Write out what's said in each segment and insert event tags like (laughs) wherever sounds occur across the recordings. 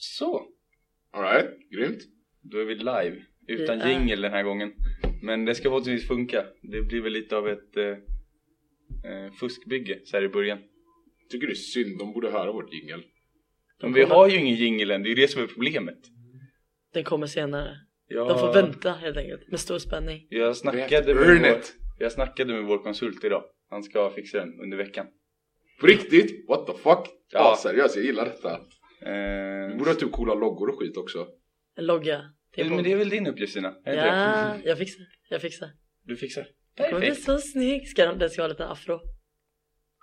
Så, Alright, grymt. då är vi live. Utan Vi är- jingel den här gången. Men det ska förhoppningsvis funka. Det blir väl lite av ett eh, eh, fuskbygge så här i början. Tycker det är synd, de borde höra vårt jingel. Men vi har ju ingen jingel än, det är ju det som är problemet. Den kommer senare. Jag, De får vänta helt enkelt med stor spänning. Jag snackade, Earn med vår, it. jag snackade med vår konsult idag. Han ska fixa den under veckan. På riktigt? What the fuck? Ja. Ja, seriöst, jag gillar detta. Vi Eh, borde ha typ coola loggor och skit också. En logga. till en men podd. det är väl din uppgift Stina? Är det inte det? Ja, jag fixar. Jag fixar. Du fixar. Det kommer bli Perfekt. så snygg. Ska den, den ska ha lite afro.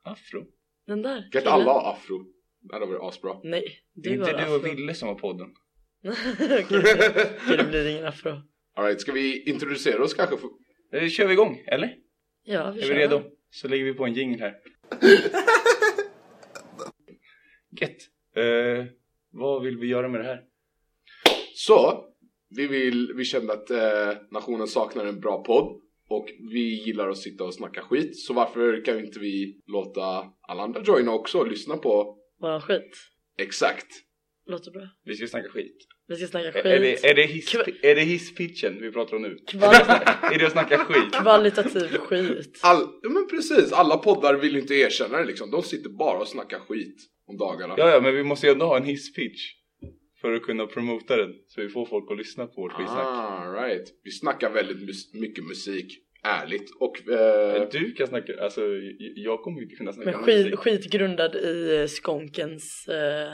Afro. Den där. Kan inte killen. alla ha afro? Det hade varit (laughs) asbra. Nej, Det är du har inte du afro. och Ville som har podden. (laughs) Okej, okej, det blir ingen afro. Alright, ska vi introducera oss kanske? För... Eh, kör vi igång, eller? Ja, vi Är kör. vi redo? Så lägger vi på en jingel (laughs) här. Gött. Eh, vad vill vi göra med det här? Så, vi, vill, vi kände att eh, nationen saknar en bra podd och vi gillar att sitta och snacka skit. Så varför kan inte vi låta alla andra joina också och lyssna på Våran skit. exakt? Låter bra. Vi ska snacka skit. Vi ska snacka skit. Är, är det, är det, his, Kva- är det hisspitchen vi pratar om nu? Kvali- Är det att (laughs) snacka skit? kvalitativ skit. All, ja, men precis, alla poddar vill inte erkänna det liksom. De sitter bara och snackar skit om dagarna. Ja, ja, men vi måste ju ändå ha en hisspitch. För att kunna promota den. Så vi får folk att lyssna på vårt skitsnack. Ah, right. Vi snackar väldigt mus- mycket musik, ärligt. Och eh, Du kan snacka, alltså j- jag kommer ju inte kunna snacka Men musik. skit, skit grundad i eh, skonkens eh,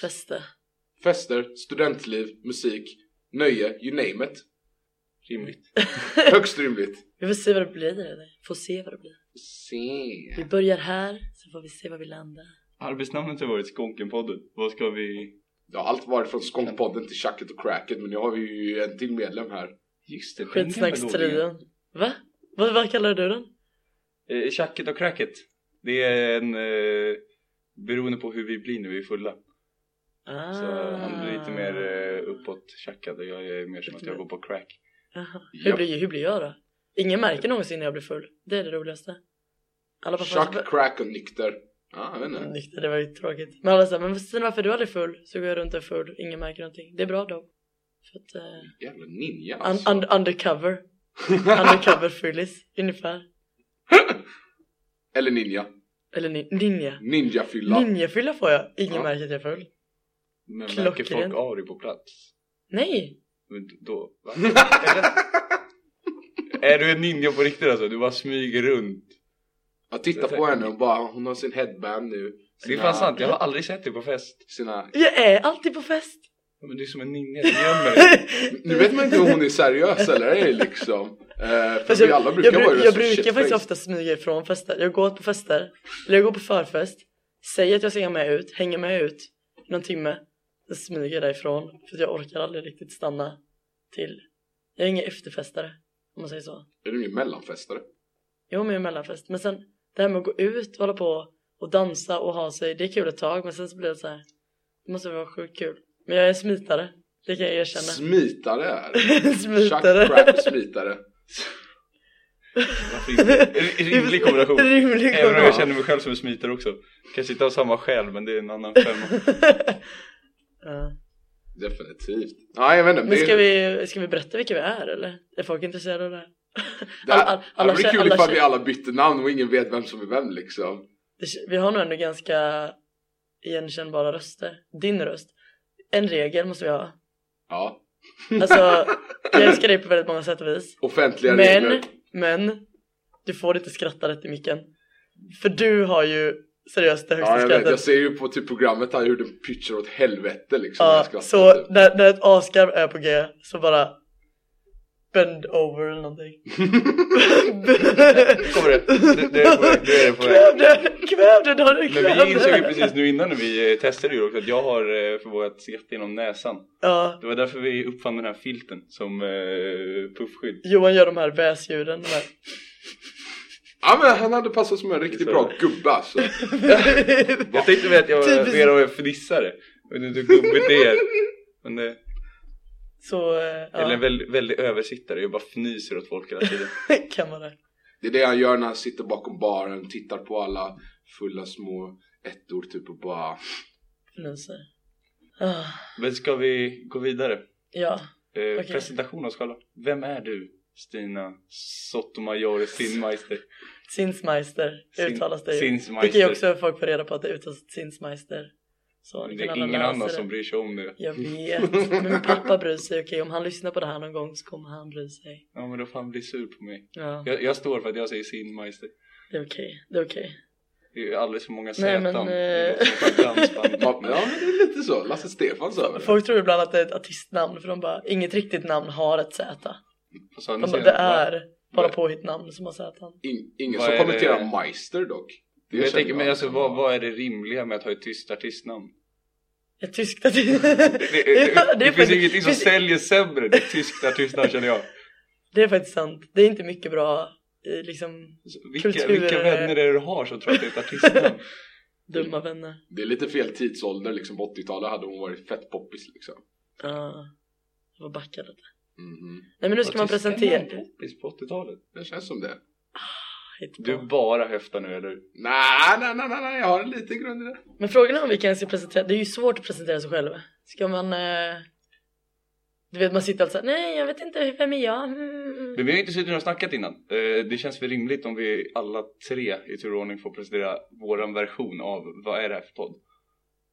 fäste. fester, studentliv, musik, nöje, you name it. Rimligt. Högst rimligt. Vi får se vad det blir. Får se vad det blir. Se. Vi börjar här, så får vi se var vi landar. Arbetsnamnet har varit Skonkenpodden. Vad ska vi... Det har allt varit från Skånkpodden till Tjacket och Cracket men nu har vi ju en till medlem här. Just det, den gamla godingen. Skitsnackstrion. Va? Vad, vad kallar du den? Eh, Tjacket och cracket. Det är en... Eh, beroende på hur vi blir när vi är fulla. Ah. Så han blir lite mer eh, uppåt tjackad och jag är mer som att jag går på crack. Aha. Ja. Hur, blir, hur blir jag då? Ingen märker någonsin när jag blir full. Det är det roligaste. Alla bara Tjack, Crack och Nykter. Ja, jag vet inte. Nykter, det var ju tråkigt. Men alla säger men Stina varför är du aldrig full? Så går jag runt och är full, ingen märker någonting. Det är bra då. För att, eh, Jävla ninja un- alltså. un- undercover. (laughs) undercover fyllis, ungefär. (laughs) Eller ninja. Eller ni- ninja. Ninjafylla. Ninjafylla får jag, ingen Ja. märker att jag är full. Men märker Klockrent. folk av dig på plats? Nej! Men då... Va? (laughs) är du en ninja på riktigt alltså? Du bara smyger runt. Jag tittar på henne och bara hon har sin headband nu. Det är Sina- fan sant, jag har aldrig sett dig på fest. Sina... Jag är alltid på fest! Ja, Men du är som en ninja, du gömmer dig. Nu vet man inte om hon är seriös eller ej liksom. Eh, för Fast vi Alltså, jag, alla jag, brukar vara bru- rätt jag så brukar shitface. faktiskt ofta smyga ifrån fester. Jag går på fester, eller jag går på förfest, säger att jag ska hänga med ut, hänger med ut i någon timme, sen smyger jag därifrån för att jag orkar aldrig riktigt stanna till. Jag är ingen efterfestare om man säger så. Är du ingen mellanfestare? Jo men jag är mellanfest. Men sen det här med att gå ut, hålla på och dansa och ha sig, det är kul ett tag men sen så blir det så här. det måste vara sjukt kul. Men jag är smitare, det kan jag erkänna. Smitare är det. Chuck (laughs) smitare. Crack smitare. Varför (laughs) inte? Rimlig kombination. Rimlig Även om jag kombination. känner mig själv som en smitare också. Kanske inte av samma skäl men det är en annan femma. Ja. Definitivt. Ja, jag vet inte. Men det- ska vi, ska vi berätta vilka vi är eller? Är folk intresserade av det här? Det, här, alla- alla- det hade alla- varit kul alla- ifall vi alla bytte namn och ingen vet vem som är vem liksom. Det- Vi har nog ändå ganska igenkännbara röster. Din röst. En regel måste vi ha. Ja. (laughs) Alltså, jag älskar dig på väldigt många sätt och vis. Offentliga Men, regler. men, du får inte skratta rätt i micken. För du har ju seriöst det högsta Ja, jag vet. Jag skrattet. ser ju på typ programmet här hur den pitchar åt helvete liksom. när jag Ja, skrattar, så typ. när, när ett asgarv är på G så bara bend over (laughs) eller någonting. (laughs) Kommer det? Du, du är på väg. Du är på väg. Kväv den! Kväv den Harry! Men Kväv den! vi insåg ju precis nu innan när vi eh, testade ju också att jag har eh, förvågat skratt genom näsan. Ja, Det var därför vi uppfann den här filten som eh, puffskydd. Johan gör de här väsljuden. De här. (laughs) Ja men han hade passat som en riktigt Så. bra gubbe alltså. Jag tänkte väl att jag var Typiskt. mer av en fnissare. Jag vet inte hur gubbigt det är. Men, eh, Så, eh, ja. Eller en väldigt, väldigt översittare, jag bara fnyser åt folk hela tiden. (laughs) kan man det. Det är det han gör när han sitter bakom baren, tittar på alla fulla små ettor typ och bara Fnyser. Ah, Men ska vi gå vidare? Ja, Eh, Okej. Presentation av oss själva. Vem är du? Stina Sotomayor Sinmeister. Zinsmeister Sin- uttalas det ju. Vilket Sinzmeister. ju också folk får reda på att det uttalas Zinsmeister. Så ni Det är kan alla ingen läsa annan det. som bryr sig om det. Jag vet, men min pappa bryr sig. Okej, om han lyssnar på det här någon gång så kommer han bry sig. Ja men då får han bli sur på mig. Ja, Jag, jag står för att jag säger Sinmeister. det är okej. Det är okej. Det är ju alldeles för många Nej, Z:an. men, eh, Det låter som ett (laughs) dansband. Ja men det är lite så, Lasse Stefans över det. Folk tror ibland att det är ett artistnamn för de bara, inget riktigt namn har ett Z. Fast å andra De bara, sidan, det va? är bara påhitt namn som har Z. In, ingen Vad som är kommenterar det? Meister dock. Det Men jag känner tänker, men alltså, vad, vad är det rimliga med att ha ett tyst artistnamn? Ett tyskt artist. (laughs) Det, det, Ja, det, är finns faktiskt- ingenting som finns- säljer sämre än ett tyskt artistnamn känner jag. Det är faktiskt sant. Det är inte mycket bra eh, liksom Så Vilka, Kultur- vilka vänner är det du har som tror att det är ett artistnamn? dumma vänner. Det är lite fel tidsålder liksom, på 80-talet hade hon varit fett poppis liksom. Ja. jag var backad lite. Mhm. Nej men (laughs) nu ska man Artistnamn presentera. var poppis på 80-talet. Det känns som det. Hittepå. Du bara höftar nu eller? Nej, nej, nej, nej, nej, jag har en liten grund i det. Men frågan är om vi kan se presentera. Det är ju svårt att presentera sig själv. Ska man... Eh... Du vet man sitter alltid såhär, nej jag vet inte, vem är jag? Mm. Men vi har inte suttit och snackat innan. Eh, Det känns väl rimligt om vi alla tre i tur och ordning får presentera våran version av vad är det här för podd?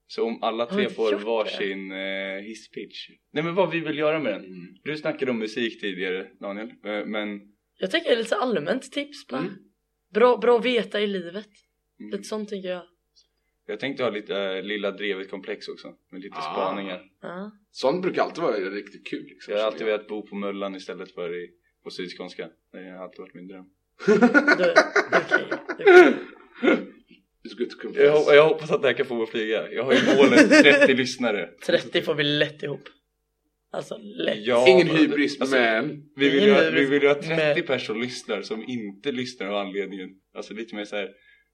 Så om alla Har vi tre inte får gjort det? varsin eh, hisspitch. Nej men vad vi vill göra med den. Mm. Du snackade om musik tidigare Daniel. Eh, Men Jag tänker lite så allmänt tips bara. Mm. Bra, bra att veta i livet. Mm. Lite sånt tänker jag. jag tänkte ha lite eh, Lilla Drevet-komplex också. Med lite Ah. spaningar. Ja. Sånt brukar alltid vara riktigt kul. Liksom, Jag har (laughs) alltid velat bo på Möllan istället för i, på Sydskånska. Det har alltid varit min dröm. Du, okej. okej. It's good to confess. Jag, hop- jag hoppas att det här kan få mig att flyga. Jag har ju (laughs) målet 30 lyssnare. 30 får vi lätt ihop. Alltså lätt. Ja, Ingen men- hybris, alltså, men... Vi vill, ju, Ingen ha- vi hybris, vill ju att 30 men- personer lyssnar som inte lyssnar av anledningen. Alltså lite mer så här.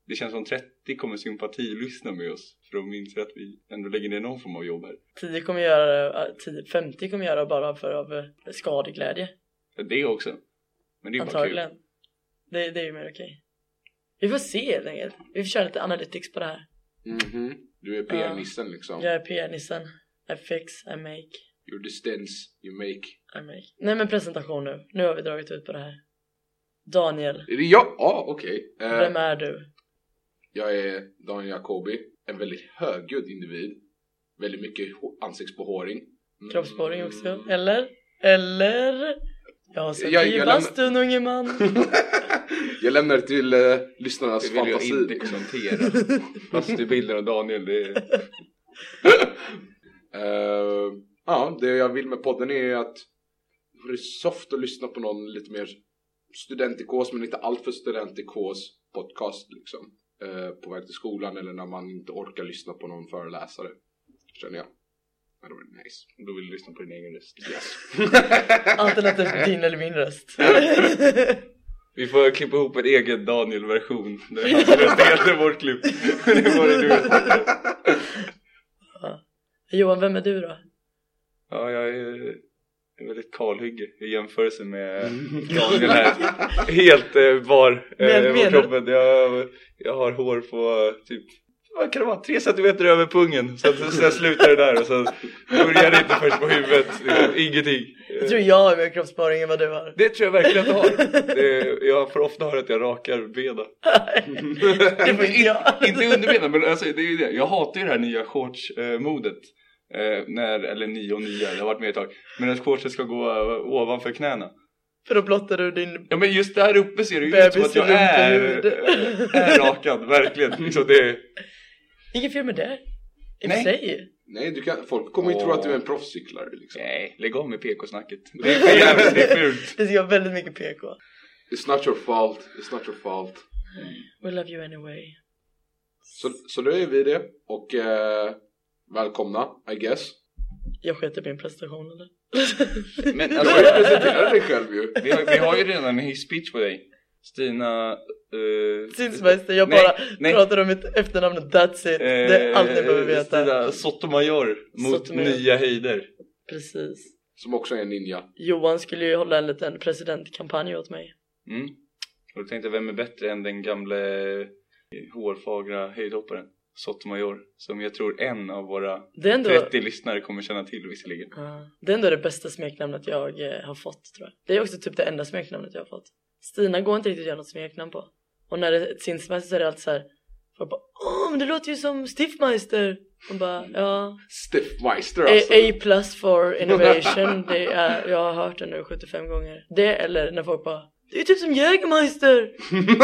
Det känns som 30 kommer sympatilyssna med oss. För de inser att vi ändå lägger ner någon form av jobb här. 10 kommer göra det, äh, 10, 50 kommer göra det bara för av eh, skadeglädje. Det också. Men det är ju bara kul. Antagligen. Det, det är ju mer okej. Vi får se helt enkelt. Vi får köra lite analytics på det här. Mhm. Du är PR-nissen liksom. Jag är PR-nissen. I fix, I make, You're the stens you make. I make. Nej men presentation nu. Nu har vi dragit ut på det här. Daniel, Är det jag? Ja, okej. Eh, vem är du? Jag är Daniel Jacobi, en väldigt högljudd individ. Väldigt mycket hå- ansiktsbehåring. Mm. Kroppsborring också? Eller? Eller? Jag har sett Jag- dig i jag lämnar- bastun unge man. (laughs) jag lämnar det till eh, lyssnarnas Det vill jag fantasi. inte kommentera. Fast du bilder av Daniel, det är... Eh, ja, det jag vill med podden är att det är soft att lyssna på någon lite mer studentikos men inte alltför studentikos podcast liksom. Eh, på väg till skolan eller när man inte orkar lyssna på någon föreläsare. Känner jag. Men det var nice. Då vill du lyssna på din egen röst. Yes. Alternativt din eller (laughs) min röst. Vi får klippa ihop en egen Daniel-version. Där han delar vårt klipp. (laughs) det var det du (laughs) Johan, vem är du då? Ja, jag är är väldigt kalhygge i jämförelse med Daniel här. Helt eh, bar Men- eh, menar på du- kroppen. Jag, jag har hår på eh, typ, vad kan det vara, tre centimeter över pungen. Så att så jag slutar det där och sen börjar det inte först på huvudet. Det är Ingenting. Jag Eh, tror jag har mer kroppsbehåring än vad du (laughs) har. Det tror jag verkligen att jag har. Det, jag får ofta höra att jag rakar benen. Det får inte jag. Inte underbenen men alltså, det är ju det. Jag hatar ju det här nya shortsmodet. Eh, när, eller nya och nya, det har varit med ett tag. Men att shortsen ska gå eh, ovanför knäna. För då blottar du din Ja men just där uppe ser det ju ut som att bebis i jag är, rumphud. är rakad, verkligen. Liksom det är, Inget fel med det. I och Nej. för sig. Nej, du kan, folk kommer ju tro att du är en proffscyklare liksom. nej, lägg av med PK-snacket. Det är för jävligt, det är fult. Det ska vara väldigt mycket PK. It's not your fault, it's not your fault. We love you anyway. Så, så då är vi det och eh, välkomna, I guess. Jag sket i min presentation eller? (laughs) Men Du alltså, har ju presenterat dig själv ju. vi har, vi har ju redan en hisspitch på dig. Stina... eh, Zinsmeister, jag Nej, bara nej. pratar om mitt efternamn och that's it. det är allt ni behöver eh, veta. Stina Sotomayor mot Sotomayor. nya höjder. Precis. Som också är en ninja. Johan skulle ju hålla en liten presidentkampanj åt mig. Mm. Och då tänkte jag, vem är bättre än den gamle eh, hårfagra höjdhopparen? Sotomayor som jag tror en av våra Det är ändå... 30 lyssnare kommer känna till visserligen. Ja. Det är ändå det bästa smeknamnet jag eh, har fått tror jag. Det är också typ det enda smeknamnet jag har fått. Stina går inte riktigt att göra något smeknamn på. Och när det är ett sinsemester så är det alltid såhär. Folk bara åh men det låter ju som Stiffmeister. Man bara ja. Stiffmeister A, alltså. A plus for innovation. Det är, jag har hört det nu 75 gånger. Det eller när folk bara det är ju typ som Jägermeister. Jag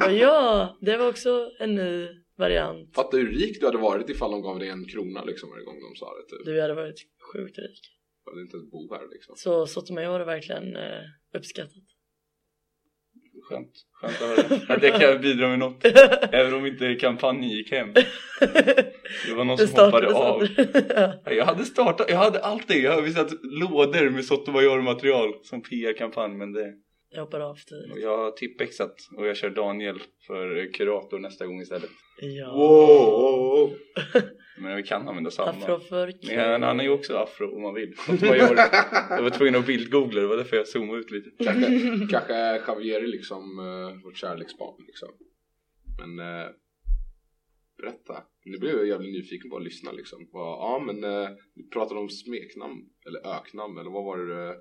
bara, ja, det var också en ny variant. Fatta hur rik du hade varit ifall de gav dig en krona liksom varje gång de sa det typ. Du Du hade varit sjukt rik. behövde inte ens bo här liksom. Så Sotomayor är verkligen eh, uppskattat. (laughs) Skönt, skönt att höra. Att jag kan bidra med något. Även om inte kampanjen gick hem. Det var någon som hoppade av. av. Nej, Jag hade startat, jag hade allt det. Jag hade visat lådor med Sotomayor-material som PR-kampanj men det, jag hoppar av typ. för tidigt. jag har tippexat och jag kör Daniel för kurator nästa gång istället. Ja. Wow! Men vi kan använda samma. Afroförk. Men han är ju också afro om man vill. Sotomayor. Jag var tvungen att bildgoogla, det var därför jag zoomade ut lite. Kanske, kanske Javier är liksom eh, vårt kärleksbarn liksom. Men eh, berätta. Nu blev jag jävligt nyfiken på att lyssna liksom. Vad- Ja men eh, vi pratade om smeknamn eller öknamn eller vad var det? eh,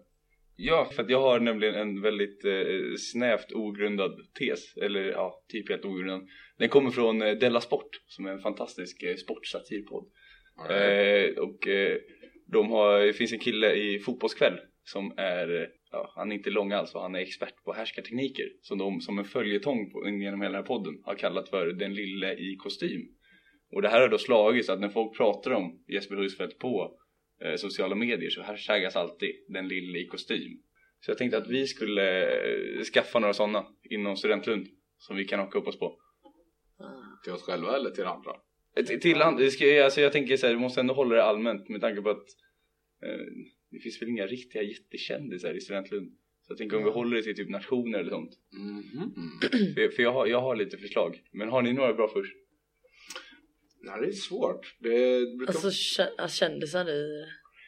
Ja, för att jag har nämligen en väldigt eh, snävt ogrundad tes, eller ja, typ helt ogrundad. Den kommer från eh, Della Sport, som är en fantastisk eh, sportsatirpodd. Eh, och eh, de har, det finns en kille i Fotbollskväll som är, eh, ja, han är inte lång alls och han är expert på härskartekniker. Som de som en följetong på, genom hela den här podden har kallat för den lille i kostym. Och det här har då slagit så att när folk pratar om Jesper Husfeldt på eh, sociala medier så hashtaggas alltid den lille i kostym. Så jag tänkte att vi skulle eh, skaffa några sådana inom Studentlund som vi kan haka upp oss på. Till oss själva eller till andra? Till- Till and- det ska, alltså jag tänker så här, du måste ändå hålla det allmänt med tanke på att eh, det finns väl inga riktiga jättekändisar i Studentlund. Så jag tänker om vi håller det till typ nationer eller sånt. Mhm. För, för jag, har, jag har lite förslag. Men har ni några bra först? Nej det är svårt. Det brukar... Alltså kä- alltså, kändisar i...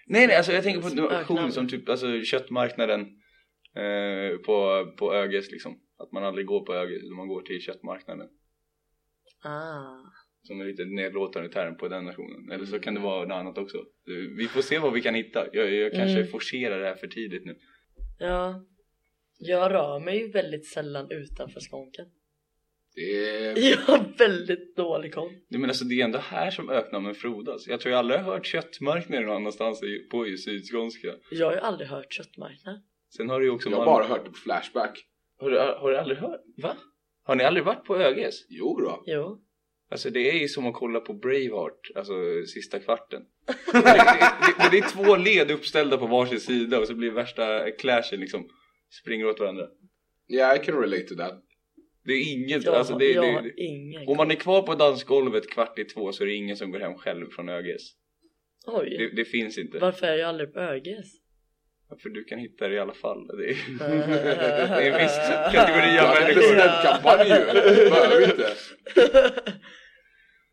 Nej nej, alltså jag tänker på Som nationer öknar. som typ alltså, köttmarknaden eh, på, på Öges liksom. Att man aldrig går på Öges utan man går till köttmarknaden. Ah. Som är lite nedlåtande term på den nationen. Eller så kan det vara något annat också. Eh, Vi får se vad vi kan hitta. Jag, jag kanske Mm. forcerar det här för tidigt nu. Ja. Jag rör mig ju väldigt sällan utanför skånken. det är... (laughs) Jag har väldigt dålig koll. Nej men alltså det är ändå här som öknamnen frodas. Jag tror jag aldrig har hört köttmarknaden någon annanstans i- på i sydskånska. Jag har ju aldrig hört köttmarknad. Sen har du ju också... Jag har Malmö- bara hört det på Flashback. har, du, har du aldrig hört? Va? Har ni aldrig varit på Öges? Jo då. Jo. Alltså det är ju som att kolla på Braveheart, alltså sista kvarten. (laughs) det, det, det är två led uppställda på varsin sida och så blir värsta clashen liksom. Springer åt varandra. Yeah I can relate to that. Det är inget, Jag, alltså det, jag det, har ingen Om koll. man är kvar på dansgolvet kvart i två så är det ingen som går hem själv från Öges. Det, Oj. det finns inte. Varför är jag aldrig på ÖGS? För du kan hitta det i alla fall. (laughs) Det är... det är en viss kategori Jag av hade men- en presidentkampanj ju. Det behöver vi inte.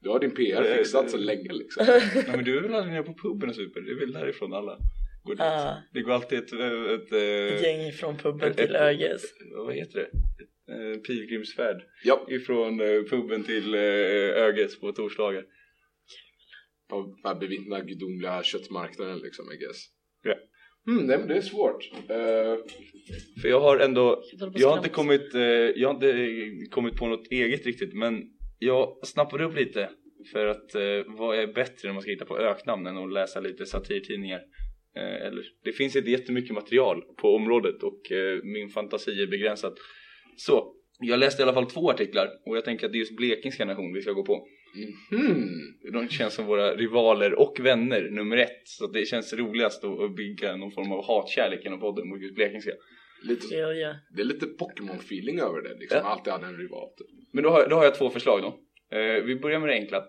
Du har din PR fixat så länge liksom. Nej men du är väl aldrig nere på puben och super? Det är väl därifrån alla går dit? Ah. Det går alltid ett, ett, Ett eh, gäng från (laughs) puben till ÖGS. vad heter det? Ett, eh, pilgrimsfärd Ja, ifrån eh, puben till eh, Öges på torsdagar. för att bevittna gudomliga köttmarknaden liksom I guess. Ja. Mm, nej men det är svårt. Eh, För jag har ändå, Jag håller på att jag har inte skrämmas. kommit, eh, jag har inte eh, kommit på något eget riktigt men jag snappade upp lite för att eh, vad är bättre när man ska hitta på öknamn än att läsa lite satirtidningar? Eh, eller, det finns inte jättemycket material på området och eh, min fantasi är begränsad. Så, jag läste i alla fall två artiklar och jag tänker att det är just blekingska nation vi ska gå på. hmm. De känns som våra rivaler och vänner nummer ett så att det känns roligast att att bygga någon form av hatkärlek genom podden mot just blekingska. lite, Ja, ja. det är lite Pokémon-feeling över det liksom. Ja. Alltid hade en rival typ. Men då har, då har jag två förslag då. Eh, vi börjar med det enkla.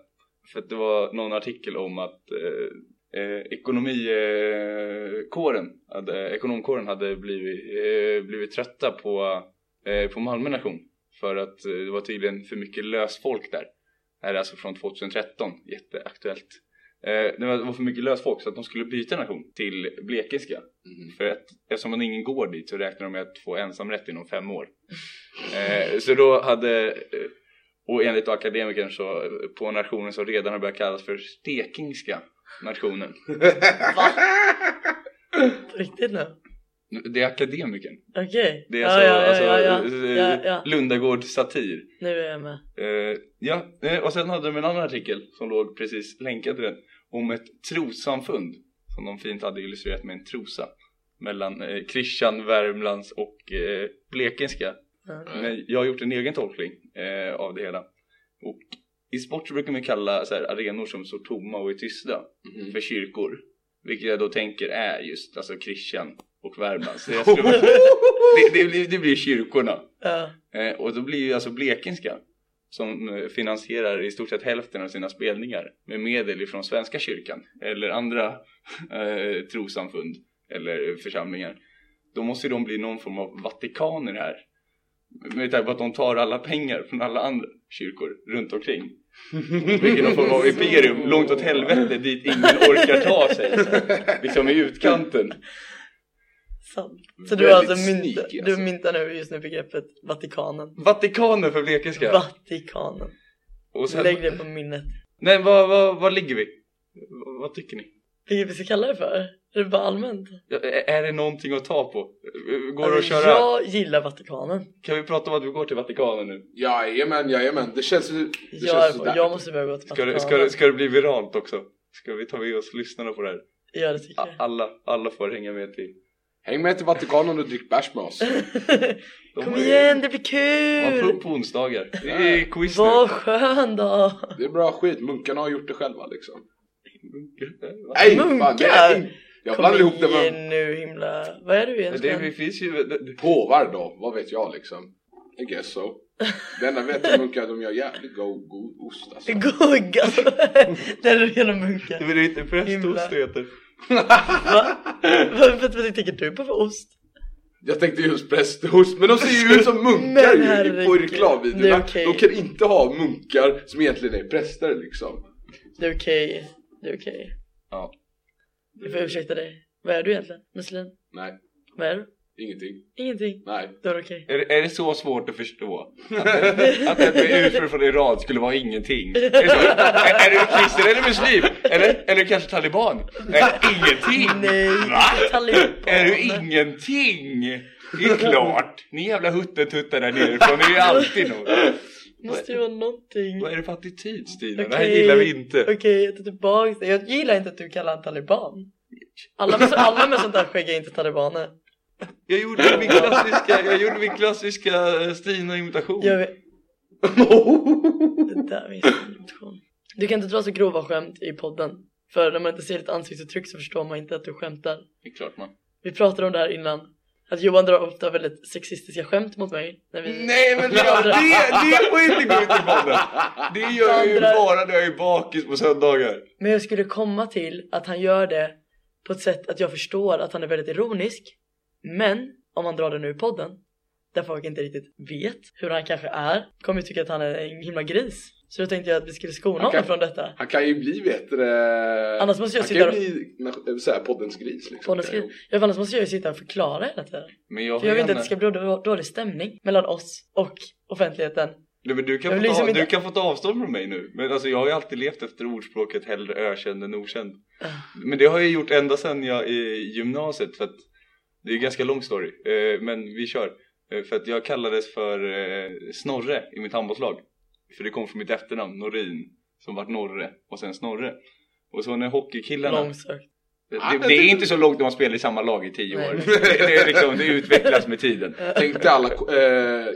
För att det var någon artikel om att eh, eh, ekonomikåren, eh, kåren hade, ekonomkåren hade blivit, eh, blivit trötta på, eh, på Malmö nation. För att eh, det var tydligen för mycket lösfolk där. Det här är alltså från 2013, jätteaktuellt. Eh, det var det var för mycket lösfolk så att de skulle byta nation till blekingska. Mhm. För att eftersom man ingen går dit så räknar de med att få ensamrätt inom fem år. Eh, så då hade eh, Och enligt akademikern så eh, på nationen som redan har börjat kallas för Stekingska nationen. På riktigt nu? Det är akademikern. Okej. Det är ja, alltså, ja, alltså ja, ja, eh, ja, ja. Lundagårds satir. Nu är jag med. Eh, ja, eh, och sen hade de en annan artikel som låg precis länkad till den om ett trossamfund som de fint hade illustrerat med en trosa mellan eh, Christian, Värmlands och eh, Blekinska. Ja. Men jag har gjort en egen tolkning eh, av det hela. Och i sport så brukar man kalla så här, arenor som står tomma och är tysta Mhm. för kyrkor. Vilket jag då tänker är just alltså Christian och Värmlands. Så jag skulle- (laughs) det, det, blir, det blir kyrkorna. Ja. Eh, och då blir ju alltså Blekinska som eh, finansierar i stort sett hälften av sina spelningar med medel ifrån Svenska kyrkan eller andra (laughs) eh, trossamfund eller församlingar. Då måste ju de bli någon form av vatikaner här. Med tanke på att de tar alla pengar från alla andra kyrkor runt omkring. Vilket någon form av imperium långt åt helvete dit ingen orkar ta sig. Liksom i utkanten. Sant. Så du, Väldigt har alltså mynta, sneaky, du alltså. myntar nu just nu begreppet Vatikanen. Vatikanen för Blekinska. Vatikanen. Och sen, Lägg det på minnet. nej, vad, vad, vad ligger vi? Vad, vad tycker ni? Vilket vi ska kalla det för? Är det bara allmänt? Ja, ä- Är det någonting att ta på? Går det att Alltså, köra? Jag gillar Vatikanen. Kan vi prata om att vi går till Vatikanen nu? Jajamän, jajamän. Det känns, det Jag, känns är på, sådär. jag måste börja gå till Ska Vatikanen. det, ska, det, ska det bli viralt också? Ska vi ta med oss lyssnarna på det här? Ja det tycker A- (laughs) jag. Alla, alla får hänga med till. Häng med till Vatikanen och drick bärs med oss. De Kom har ju- igen det blir Ja, på, kul! på onsdagar. Det är quiz Vad skön då! Det är bra skit. Munkarna har gjort det själva liksom. nu. Nej, Munkar? fan, det är in... Jag Kom blandar ihop det igen med nu himla... Vad är du Det, det egentligen? finns ju... det- det- påvar då. Vad vet jag liksom. I guess (laughs) so. Det enda jag vet är munkar, de gör jävligt god, god ost (laughs) alltså. Gugga! Det är du genom munka. Det är ju inte prästost det heter. Va? Vad, vad, vad tänker du på för ost? Jag tänkte just prästost, men de ser ju ut (laughs) som munkar Men ju i- på herregud. reklamvideorna. Det är okej. De kan inte ha munkar som egentligen är präster liksom. Det är okej. Det är okej. Ja. Du får ursäkta dig. Vad är du egentligen? Muslim? Nej, Vad är du? ingenting. Ingenting. Nej. (laughs) Då är det okej. Är, det- är det så svårt att förstå? (laughs) Att, att ett med ursprung från Iran skulle vara ingenting? Är, det så? är, är du kristen eller muslim? Eller, eller kanske taliban? Nej, ingenting! Nej, Va? taliban. Är du ingenting? Det är klart! Ni jävla huttentuttar där nerifrån, ni är ju alltid något. Måste ju vara någonting. Vad är det för attityd Stina? Det här Okej. gillar vi inte. Okej, jag tar tillbaka det. Jag gillar inte att du kallar han taliban. Alla med, alla med sånt där skägg är inte talibaner. Jag gjorde min klassiska, jag gjorde min klassiska eh, Stina-imitation. Jag vet, det där finns en diskussion. Du kan inte dra så grova skämt i podden. För när man inte ser ditt ansiktsuttryck så förstår man inte att du skämtar. Det är klart man. Vi pratade om det här innan. Att Johan drar ofta väldigt sexistiska skämt mot mig. När vi... Nej men det, det, det får inte gå ut i podden! Det gör jag ju bara när jag är bakis på söndagar. Men jag skulle komma till att han gör det på ett sätt att jag förstår att han är väldigt ironisk. Men om han drar det nu i podden, där folk inte riktigt vet hur han kanske är, kommer ju tycka att han är en himla gris. Så då tänkte jag att vi skulle skona Okej. honom från detta. Han kan ju bli vet du det, Annars måste jag Han sitta kan ju bli na- eh, så här, poddens gris liksom. Poddens gris. Ja, för annars måste jag ju sitta och förklara hela tiden. Men jag, För jag vill inte att det ska bli då- dålig stämning mellan oss och offentligheten. Nej, men du, kan Jag få vill ta, liksom du inte- kan få ta avstånd från mig nu. Men alltså, jag har ju alltid levt efter ordspråket hellre ökänd än okänd. Ah. Men det har jag gjort ända sedan jag i gymnasiet. För att, det är en ganska lång story, eh, men vi kör. Eh, För att jag kallades för eh, Snorre i mitt handbollslag. För det kom från mitt efternamn, Norin, som vart Norre och sen Snorre. Och så när hockeykillarna... Långsökt. Det, det är inte så långt när man spelar i samma lag i tio år. Nej. Det, det, är liksom, det utvecklas med tiden. Tänk dig alla ko- eh,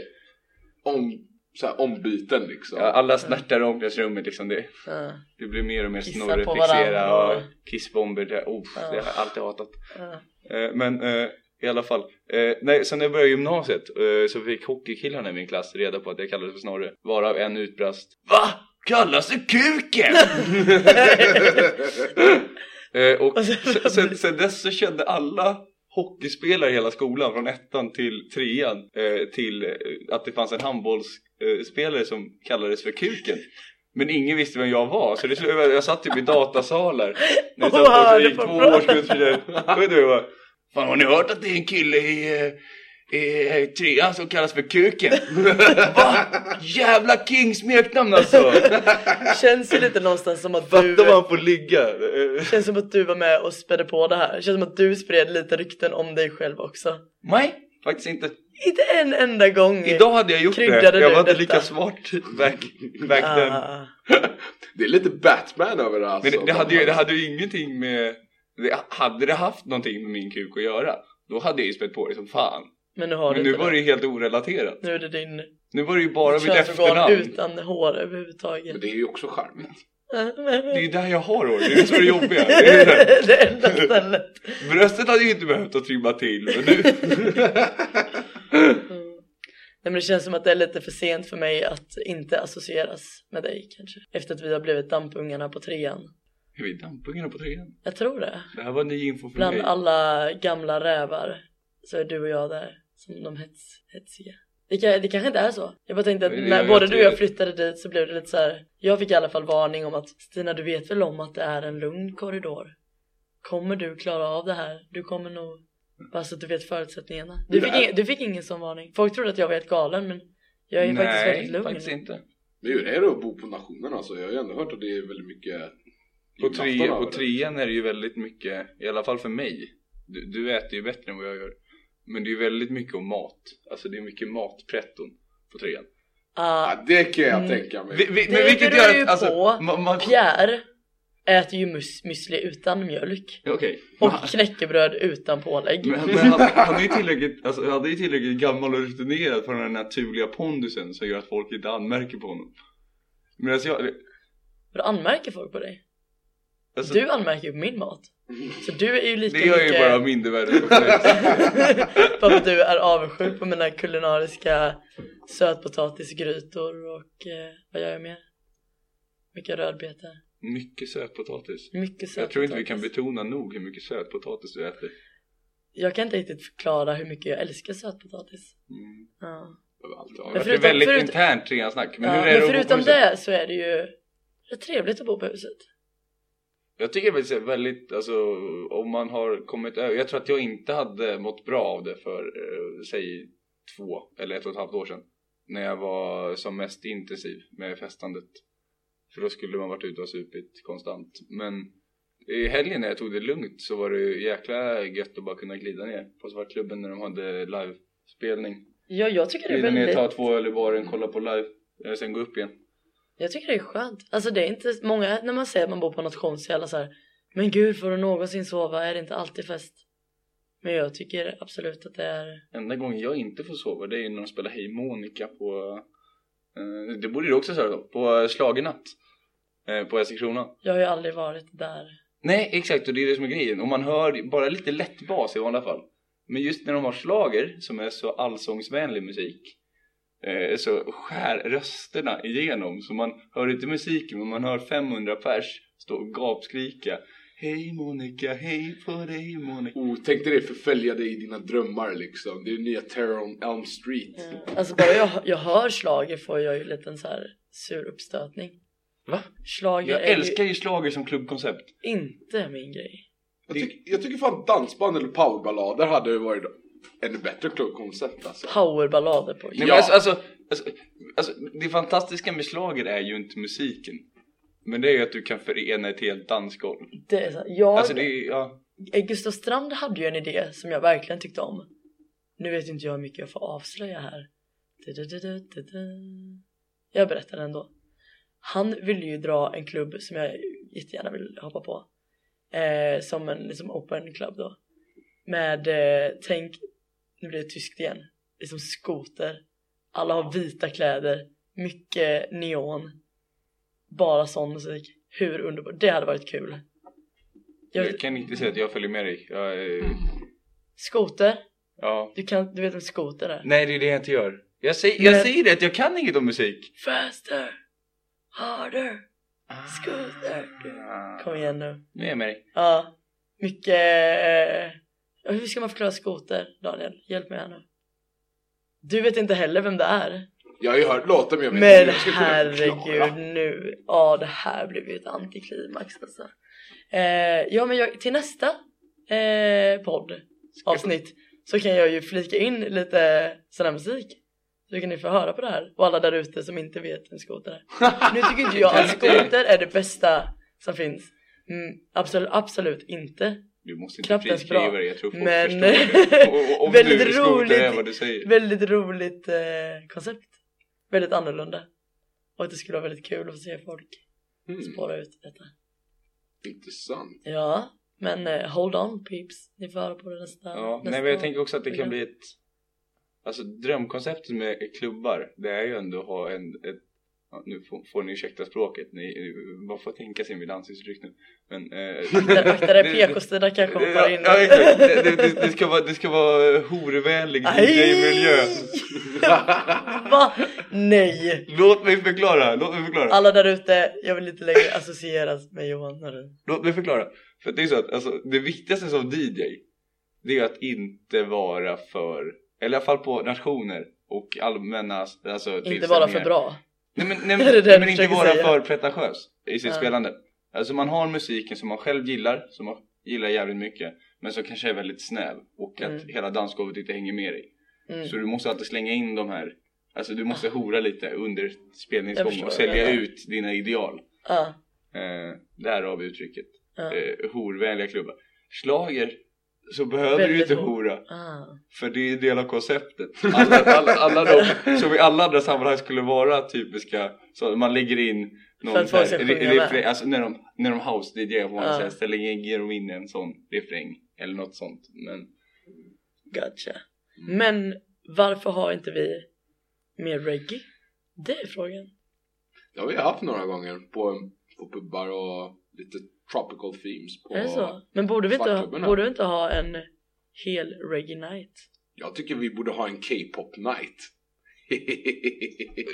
om, så här, ombyten liksom. Ja, Alla snärtar i omklädningsrummet liksom. Det, Ja, Det blir mer och mer Kissa snorre, på fixera varandra. och kissbomber. Det, oh, Ja. det har jag alltid hatat. ja. Eh, men eh, i alla fall. Eh, nej, sen när jag började gymnasiet eh, så fick hockeykillarna i min klass reda på att jag kallades för snorre. Varav en utbrast. Va? Kallas du kuken? (laughs) eh, och sen, sen, sen dess så kände alla hockeyspelare i hela skolan från ettan till trean eh, till eh, att det fanns en handbollsspelare eh, spelare som kallades för kuken. Men ingen visste vem jag var så det, slu- jag, jag satt typ i datasalar när jag satt Och bort och hörde gick på två bra. årskurser vidare. Då vet du vad jag bara, Fan har ni hört att det är en kille i eh, eh, trean som kallas för (laughs) kuken. Va? Jävla king smeknamn (laughs) alltså! Känns ju lite någonstans som att du... Fattar vad han får ligga. Eh, Känns som att du var med och spädde på det här. Känns som att du spred lite rykten om dig själv också. Nej, faktiskt inte. Inte en enda gång. Idag hade jag gjort Eh, Kryddade det. Jag du var inte detta? lika smart back, back then. Ah. Det är lite Batman över det alltså. Men det, det, hade ju, det hade ju ingenting med... Det, hade det haft någonting med min kuk att göra, då hade jag ju spett på det som fan. Men nu har Men du nu inte var det ju helt orelaterat. Nu är det din Nu var det ju bara mitt könsorgan efternamn. utan hår överhuvudtaget. Ah, Men det är ju också charmigt. Det är (laughs) ju där jag har hår, det är ju så det jobbiga. Det är ju det här. det enda stället. Bröstet hade ju inte behövt att trimma till. Men nu, Mm. Nej men det känns som att det är lite för sent för mig att inte associeras med dig kanske. Efter att vi har blivit dampungarna på trean. är vi dampungarna på trean? Jag tror det. Det här var ny info för Bland mig. alla gamla rävar så är du och jag där som de hets, hetsiga. Det, kan, det kanske inte är så. Jag bara tänkte att Nej, det- när jag både vet du och jag det. flyttade dit så blev det lite så här. Jag fick i alla fall varning om att Stina du vet väl om att det är en lugn korridor? Kommer du klara av det här? Du kommer nog bara så att du vet förutsättningarna. Du fick, Nej. ingen, du fick ingen sån varning. Folk trodde att jag var helt galen men jag är faktiskt väldigt Nej, lugn. faktiskt inte. Men hur är det att bo på nationen alltså? Jag har ju ändå hört att det är väldigt mycket På, julafton tre, över på det. trean är det ju väldigt mycket, i alla fall för mig. Du, du äter ju bättre än vad jag gör. Men det är ju väldigt mycket om mat. Alltså det är mycket matpretton på trean. Ah, Ja, det kan jag Mm. tänka mig. Vi, vi, Det men vilket beror gör ju att, alltså, på. man, man, Pierre äter ju mus- müsli utan mjölk Okej. och knäckebröd utan pålägg. Men, (laughs) men han, han, är ju tillräckligt, alltså, han är ju tillräckligt gammal och rutinerad för den här naturliga pondusen som gör att folk inte anmärker på honom. Men alltså jag, För då anmärker folk på dig. alltså, Du anmärker ju på (laughs) min mat. Så du är ju lika det gör ju mycket (laughs) bara mindervärde. bara för att du är avundsjuk på mina kulinariska sötpotatisgrytor och eh, vad gör jag mer? Mycket rödbetor. (laughs) Mycket sötpotatis. Mycket Jag tror inte vi kan sötpotatis. betona nog hur mycket sötpotatis du äter. Jag kan inte riktigt förklara hur mycket jag älskar sötpotatis. Mm. Ja. Överallt, Ja, ja. det är förutom- väldigt förut- internt treansnack. Men ja, hur är det men att bo på förutom huset? det så är det ju det är trevligt att bo på huset. Jag tycker faktiskt det är väldigt, alltså om man har kommit över. Jag tror att jag inte hade mått bra av det för eh, säg två eller ett och ett halvt år sedan. När jag var som mest intensiv med festandet. För då skulle man varit ute och supit konstant. Men i helgen när jag tog det lugnt så var det ju jäkla gött att bara kunna glida ner på Svartklubben när de hade livespelning. Ja, jag tycker det är Glida ner, väldigt... ta två öl i baren, kolla på live. eh, Sen gå upp igen. Jag tycker det är skönt. Alltså det är inte många när man säger att man bor på nation så är alla så här. Men gud får du någonsin sova? Är det inte alltid fest? Men jag tycker absolut att det är. Enda gången jag inte får sova det är ju när de spelar Hej Monica på eh, Det borde du också säga då, på schlagernatt eh, På Eskilstuna Jag har ju aldrig varit där. Nej exakt och det är det som är grejen och man hör bara lite lätt bas i vanliga fall Men just när de har slager som är så allsångsvänlig musik eh, Så skär rösterna igenom så man hör inte musiken men man hör 500 pers stå och gapskrika Hej Monica, hej på dig Monica Oh, tänk dig det, förfölja dig i dina drömmar liksom. Det är nya Terror on Elm Street. Eh, Alltså bara jag, jag hör slager får jag ju en liten så här sur uppstötning. Va? Schlager Jag är älskar ju slager som klubbkoncept ju inte min grej. Jag, tyck, jag tycker fan dansband eller powerballader hade ju varit ännu bättre klubbkoncept alltså. Powerballader på. Nej, Ja. men alltså, alltså, alltså, alltså, det fantastiska med schlager är ju inte musiken. Men det är ju att du kan förena ett helt dansgolv. Det är så här, jag, Alltså det är, ja. Eh, Gustav Strand hade ju en idé som jag verkligen tyckte om. Nu vet inte jag hur mycket jag får avslöja här. Du-du-du-du-du-du. Jag berättar den ändå. Han ville ju dra en klubb som jag jättegärna vill hoppa på. Eh, som en liksom open club då. Med, eh, tänk, nu blir det tyskt igen. Liksom skoter. Alla har vita kläder. Mycket neon. Bara sån musik. Hur underbart. Det hade varit kul. Jag- Mm. Jag kan inte säga att jag följer med dig. Jag, eh, Skoter. ja. Du, kan, du vet vem skoter är? Nej det är det jag inte gör. Jag säger, jag Men- säger det att jag kan inget om musik. Faster! Harder! Skoter! Ah. Kom igen nu. Nu är Ah. jag med dig. Ja. Mycket... eh, ja, Hur ska man förklara skoter, Daniel? Hjälp mig här nu. Du vet inte heller vem det är. Jag har ju hört låtar men jag vet Men jag ska kunna herregud förklara. nu. Ja, det här blev ju ett antiklimax alltså. Eh, ja, men jag, till nästa eh, podd avsnitt så kan jag ju flika in lite sån här musik. Så kan ni få höra på det här. Och alla där ute som inte vet en skoter (laughs) är. Nu tycker inte jag att skoter är det bästa som finns. Mm, absolut, absolut inte. Du måste inte Knappt ens friskriva bra. dig, jag tror folk Men- förstår (laughs) det. Och- och- Om Väldigt du skoter är roligt. vad du säger. Väldigt roligt eh, koncept. Väldigt annorlunda. Och det skulle vara väldigt kul att se folk Mm, spåra ut detta. intressant. Ja, men eh, hold on peeps. Ni får höra på det nästa. Ja, nästa nej men jag tänker också att det kan program. bli ett Alltså drömkonceptet med klubbar det är ju ändå att ha en ett, ja, Nu får, får ni ursäkta språket, ni, man får tänka sig med dansuttryck nu men (laughs) eh, (laughs) Där akta dig, det- PK-Stina kan komma bara Ja, in. ja, exakt. det, det, det, det ska vara, det ska vara horvänlig DJ-miljö (laughs) Va? Nej! Låt mig förklara, låt mig förklara Alla där ute, jag vill inte längre associeras med Johan Norin. Låt mig förklara. För att det är så att alltså, det viktigaste som DJ det är att inte vara för, eller i alla fall på nationer och allmänna alltså, Inte tillställningar. vara för bra. Nej men, nej, (laughs) Det är det men, jag men inte försöker vara säga. för pretentiös i sitt Ja. spelande. Alltså man har musiken som man själv gillar, som man gillar jävligt mycket men som kanske är väldigt snäv och att Mm. hela dansgolvet inte hänger med dig. Mm. Ah. Så du måste alltid slänga in de här, alltså du måste hora lite under Jag spelningsgången förstår och vad du sälja menar. ut dina ideal. Ja, Eh, därav uttrycket ja, eh, horvänliga klubbar. Slager så behöver Väldigt du inte hor. hora ah. för det är en del av konceptet. Alla, alla, alla de (laughs) som i alla andra sammanhang skulle vara typiska så man lägger in någon För att så här folk ska re- sjunga med. refräng, alltså när de, när de house DJ på Ja. ja. ställer in, ger de in en sån refräng eller något sånt. Men Gotcha. Mm. Men varför har inte vi mer reggae? Det är frågan. Det har vi haft några gånger på, på pubbar och lite tropical themes på... Är det så? Men borde vi, inte, ha- Svartklubben, borde vi inte ha en hel reggae night? Jag tycker vi borde ha en K-pop night. (laughs)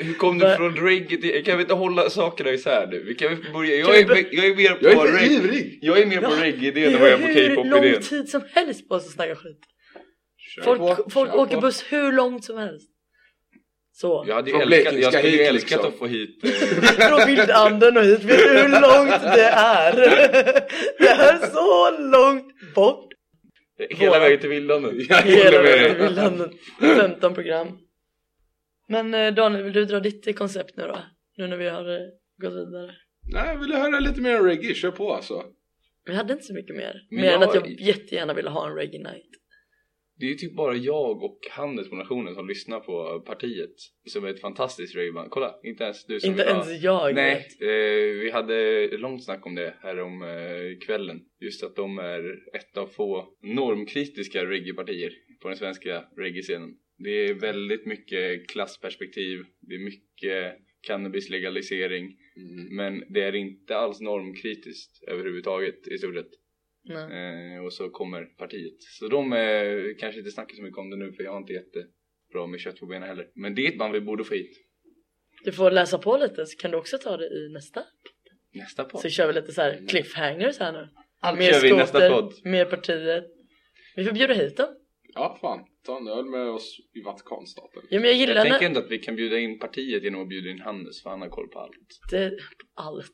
hur kom du Va- från reggae till, kan vi inte hålla sakerna isär nu? Vi kan väl börja, Kan jag vi är, bör- mer- jag är mer på jag är för reggae, ivrig! jag är mer på Ja, reggae-idén än vad jag är på hur lång K-pop-idén. tid som helst på oss att snacka skit. Kör på, Folk, folk kör (laughs) åker på. buss hur långt som helst. Så. Jag hade ju Från älskat, Blekingska jag skulle ju hit, älskat liksom. att få hit eh, (laughs) Från Vildanden och hit, vet du hur långt det är? (laughs) Det är så långt bort! hela vägen till Vildanden. Hela håller med vägen dig. till Vildanden. 15 program. Men eh, Daniel, vill du dra ditt koncept nu då? Nu när vi har eh, gått vidare. Nej, jag ville höra lite mer reggae, kör på alltså. Vi hade inte så mycket mer. Men mer än jag- att jag jättegärna ville ha en reggae night. Det är ju typ bara jag och Hannes på nationen som lyssnar på partiet som är ett fantastiskt rageband. Kolla, inte ens du som Inte vill ha- ens jag. Nej, vet. eh, vi hade långt snack om det här om eh, kvällen. Just att de är ett av få normkritiska reggaepartier på den svenska reggae-scenen. Det är väldigt mycket klassperspektiv, det är mycket cannabislegalisering Mm. men det är inte alls normkritiskt överhuvudtaget i stort sett. Nej. Eh, och så kommer partiet. Så de eh, kanske inte snackar så mycket om det nu för jag har inte jättebra med kött på benen heller. Men det är ett band vi borde få hit. Du får läsa på lite så kan du också ta det i nästa. Nästa podd. Så kör vi lite så här cliffhangers här nu. Mm. Allt Mer kör vi i nästa skoter, podd. mer partiet. Vi får bjuda hit dem. Ja, fan. Ta en öl med oss i Vatikanstaten. Ja, men jag Jag gillar när... tänker ändå att vi kan bjuda in partiet genom att bjuda in Hannes för han har koll på allt. Det, allt.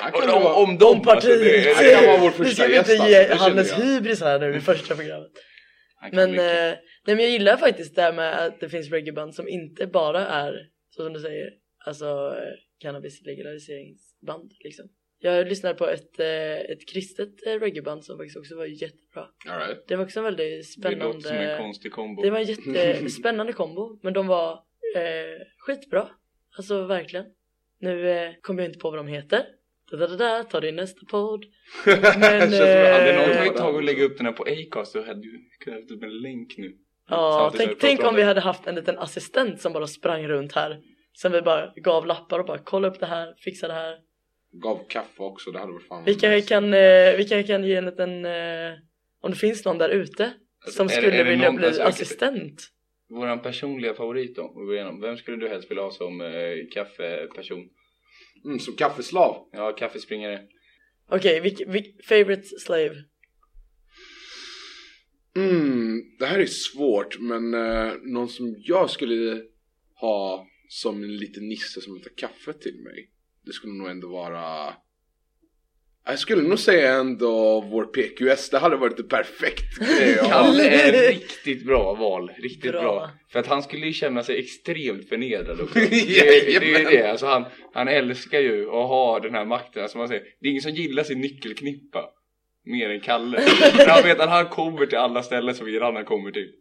Här kan det Om, vara- om dem! Om partiet! Alltså, det är- här kan vara vår Nu ska första vi gäst inte alltså, ge det känner Hannes jag. hybris här nu i första programmet. han kan Men, eh, mycket. nej, men jag gillar faktiskt det här med att det finns reggaeband som inte bara är, så som du säger, alltså eh, cannabis-legaliseringsband liksom. Jag lyssnade på ett, eh, ett kristet eh, reggaeband som faktiskt också var jättebra. All right. Det var också en väldigt det låter som en spännande, konstig kombo. det var en (laughs) jättespännande kombo, men de var eh, skitbra. Alltså verkligen. Nu eh, kommer jag inte på vad de heter. Da, da, da, da, ta det i nästa podd. Men, Känns som (laughs) jag aldrig Det någonsin var eh, ju har varit ett tag att där. lägga upp den här på Acast och hade ju krävt upp en länk nu. Ja, Samtidigt som tänk, vi pratar tänk om vi det. hade haft en liten assistent som bara sprang runt här. Sen vi bara gav lappar och bara kolla upp det här, fixa det här. Gav kaffe också, det hade varit fan Vi kanske nice. kan, eh, vi kanske kan ge en liten, eh, om det finns någon där ute Alltså, som är det- skulle är det vilja någon- bli alltså, okej. assistent. Våran personliga favorit då, att gå igenom. Vem skulle du helst vilja ha som eh, kaffeperson? Mm, som kaffeslav. Ja, kaffespringare. Okej, vilk- vilk- favorite slave? Mm, det här är svårt, men eh, någon som jag skulle ha som en liten nisse som hämtar kaffe till mig. Det skulle nog ändå vara... Jag skulle nog säga ändå vår PQS, det hade varit det perfekt grej att ha. Kalle är riktigt bra val, riktigt bra. Bra. För att han skulle ju känna sig extremt förnedrad (laughs) också. Det, det är ju Jajamän. det, alltså han, han älskar ju att ha den här makten. Alltså man säger, det är ingen som gillar sin nyckelknippa mer än Kalle. För han vet att han kommer till alla ställen som grannarna kommer till.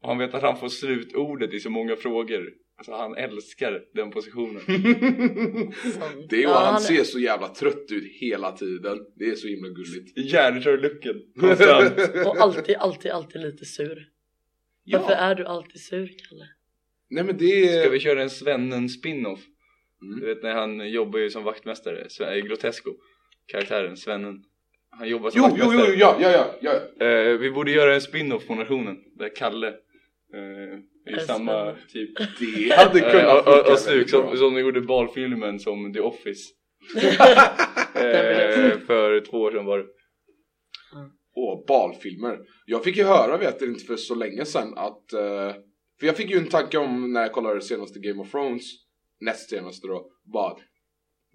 Och han vet att han får slutordet i så många frågor. Alltså han älskar den positionen. Sant. Det är ju, Mm. Ja, han han- ser så jävla trött ut hela tiden. Det är så himla gulligt. Järnkörlucken konstant. Och alltid, alltid, alltid lite sur. Varför Ja. är du alltid sur Kalle? Nej men det är... Ska vi köra en svennen spin-off? Eh, Mm. Du vet när han jobbar ju som vaktmästare, Sve- eh, Grotesco Karaktären, svennen Han jobbar som Jo, jo, vaktmästare jo, ja, ja, ja, ja. Eh, Vi borde göra en spin-off på nationen Där Kalle eh, är Är samma svennen. typ (laughs) Det hade eh, kunnat och- och- och väldigt Stuk bra. som, som de gjorde balfilmen som The Office eh, För två år sedan var det och balfilmer. Jag fick ju höra, vet du, inte för så länge sedan att... eh, för jag fick ju en tanke om när jag kollade senaste Game of Thrones, näst senaste då, bara att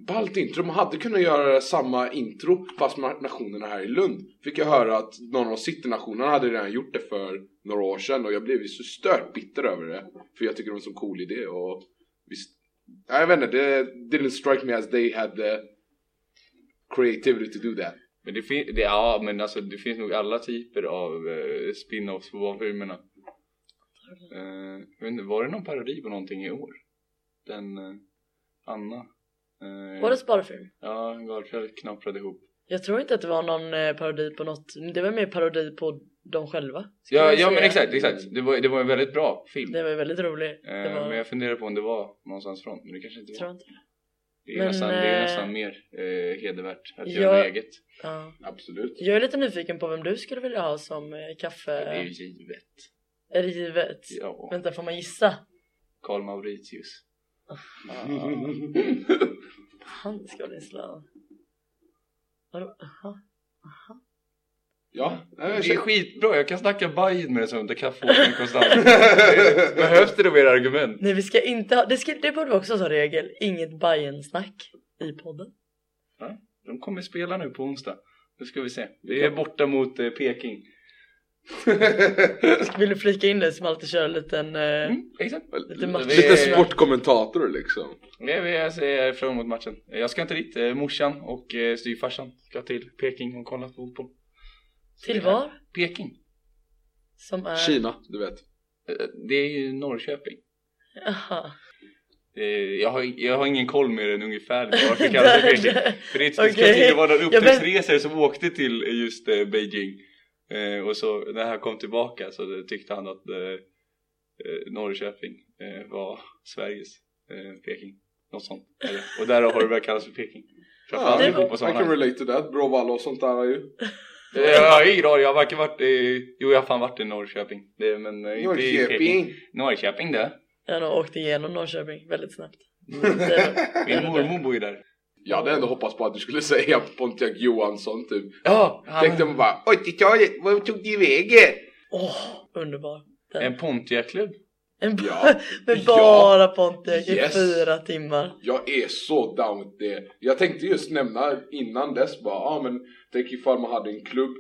ballt intro, man hade kunnat göra samma intro fast med nationerna här i Lund. Fick jag höra att någon av citynationerna hade redan gjort det för några år sedan och jag blev ju så stört bitter över det. För jag tycker det var en så cool idé och visst, Nej, jag vet inte, det didn't strike me as they had the creativity to do that. Men det, fin- det, ja, men alltså, det finns nog alla typer av eh, spin-offs på barnfilmerna. Eh, jag vet inte, var det någon parodi på någonting i år? Den eh, Anna? Eh, Var det sparfilm? Ja, Gardfjell knapprade ihop. Jag tror inte att det var någon eh, parodi på något. Det var mer parodi på dem själva. skulle Ja, jag ja men säga. exakt, exakt. Det var, det var en väldigt bra film. Det var ju väldigt roligt. Eh, det var... Men jag funderar på om det var någonstans från. Men det kanske inte tror var. inte. Det är, Men, nästan, det är eh, nästan mer eh, hedervärt att jag- göra något eget. Ja. Absolut. Jag är lite nyfiken på vem du skulle vilja ha som eh, kaffe... Det är ju givet. Är det givet? Ja, Vänta, får man gissa? Karl Mauritius. Han ska bli slav. Vadå? Aha. Ja, nej, Det jag är känner- skitbra, jag kan snacka bajen med dig som du kan få mig konstant. Behövs det då mer argument? Nej vi ska inte ha, det, ska, det borde vi också ha som regel, inget Bajen-snack i podden. De kommer spela nu på onsdag. Nu ska vi se. Det är borta mot eh, Peking. (laughs) Vill du flika in det som alltid kör en liten... Eh, Mm, exakt. Lite match. Vi- Lite sportkommentator liksom. Nej, vi- Jag ser fram emot matchen. Jag ska inte dit. Eh, Morsan och eh, styvfarsan ska till Peking och kolla på fotboll. Så till det är- var? Peking. Som är... Kina, du vet. Eh, Det är ju Norrköping. Aha. Eh, Jag har, jag har ingen koll mer än ungefär varför det (laughs) kallas för Peking. För det, det Okej. kanske inte var några vet- upptäcktsresor som åkte till just eh, Beijing eh, Och så när han kom tillbaka så det- tyckte han att eh, eh, Norrköping eh, var Sveriges eh, Peking Något sånt Eller, Och där har det väl kallats för Peking Ja, Framförallt i det- I can fotbollssammanhang relate to that. Bråvalla och sånt där är ju. Eh, Jag har ingen aning, jag har varken varit i, jo jag har fan varit i Norrköping det, men eh, inte i Peking Norrköping. Norrköping det, Jag har nog åkt igenom Norrköping väldigt snabbt. min mormor bor ju där Jag hade ändå hoppats på att du skulle (laughs) säga Pontiac Johansson typ. Ja, Tänkte han, man bara 80-talet, vart tog det vägen? (laughs) Åh, underbar. en Pontiac-klubb En Ja. (laughs) med Ja. bara Pontiac i Yes. fyra timmar. Jag är så down with det. Jag tänkte just nämna innan dess bara, ja ah, men tänk ifall man hade en klubb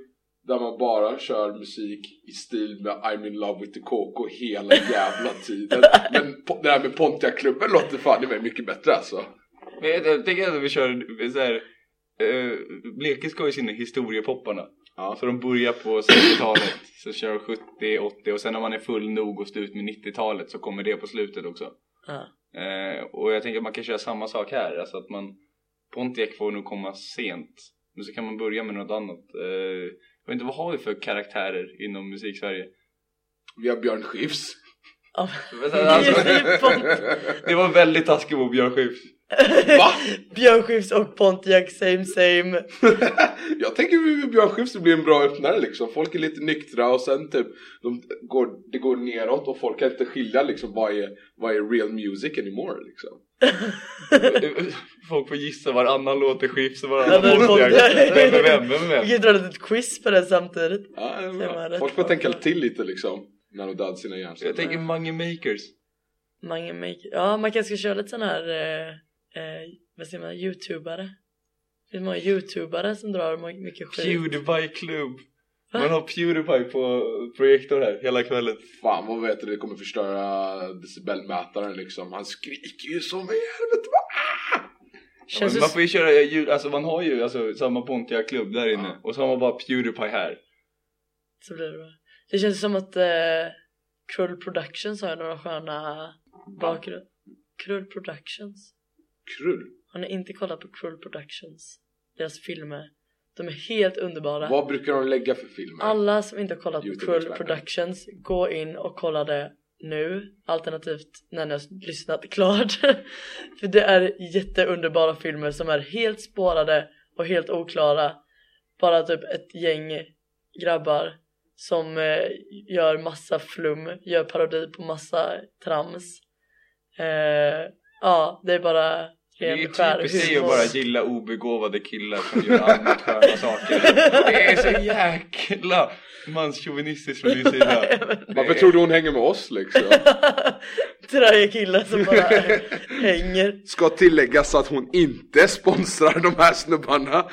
där man bara kör musik i stil med I'm in love with the KK hela jävla tiden. Men po- det där med Pontiac-klubben låter fan det var mycket bättre alltså. Men jag, jag tänker ändå att vi kör så här. eh, Blekis har ju sina historiepopparna. Ja. Så de börjar på 60-talet, så kör 70, 80 och sen när man är full nog och står ut med 90-talet så kommer det på slutet också. Ja. Eh, och jag tänker att man kan köra samma sak här, alltså att man Pontiac får nog komma sent. Men så kan man börja med något annat. Eh, jag vet inte, vad har vi för karaktärer inom musik-Sverige? Vi har Björn Skifs. (laughs) Ja, Men men sen, (laughs) Alltså, det är ju Pont- det var väldigt taskigt mot Björn Skifs. Va? Björn Skifs och Pontiac, same same. Jag tänker vi med Björn Skifs det blir en bra öppnare liksom. Folk är lite nyktra och sen typ de går, det går neråt och folk kan inte skilja liksom vad är, vad är real music anymore liksom. (laughs) Folk får gissa varannan låt är Skifs och Ja, varannan men Pontiac. Pontiac. Vem är vem? Vem är Vi kan vem? ju dra ett litet quiz på det samtidigt. Ja, det är Ser man bra. rätt Folk får bra. tänka till lite liksom när de dödar sina hjärnceller. Jag tänker Mange Makers. Mange make... Ja, man kanske ska köra lite sån här... Eh, eh, vad säger man? Youtubare. Det är många youtubare som drar må- mycket skit. Pewdiepie klubb. Va? Man har Pewdiepie på projektor här hela kvällen. Fan vad vet du, det kommer förstöra decibelmätaren liksom. Han skriker ju som i helvete. va? Men Känns det man får ju köra ljud, alltså man har ju alltså, samma Pontia klubb där inne Ja. och så har man bara Pewdiepie här. så blir det bra. Det känns som att eh, Krull Productions har några sköna bakgrund. Krull Productions. Krull. Har ni inte kollat på Krull Productions? Deras filmer. De är helt underbara. Vad brukar de lägga för filmer? Alla som inte har kollat på Krull YouTube-experten. Productions, gå in och kolla det nu. Alternativt när ni har lyssnat klart. (laughs) För det är jätteunderbara filmer som är helt spårade och helt oklara. Bara typ ett gäng grabbar som eh, gör massa flum, gör parodi på massa trams. Eh, ja, det är bara Det är ju ren skär typiskt dig att humor. (laughs) bara gilla obegåvade killar som gör annat sköna saker. Det är så jäkla manschauvinistiskt från din sida. (laughs) Ja, men- Varför tror du hon hänger med oss (laughs) liksom? Tröja killar (laughs) som bara hänger. Ska tilläggas att hon inte sponsrar de här snubbarna.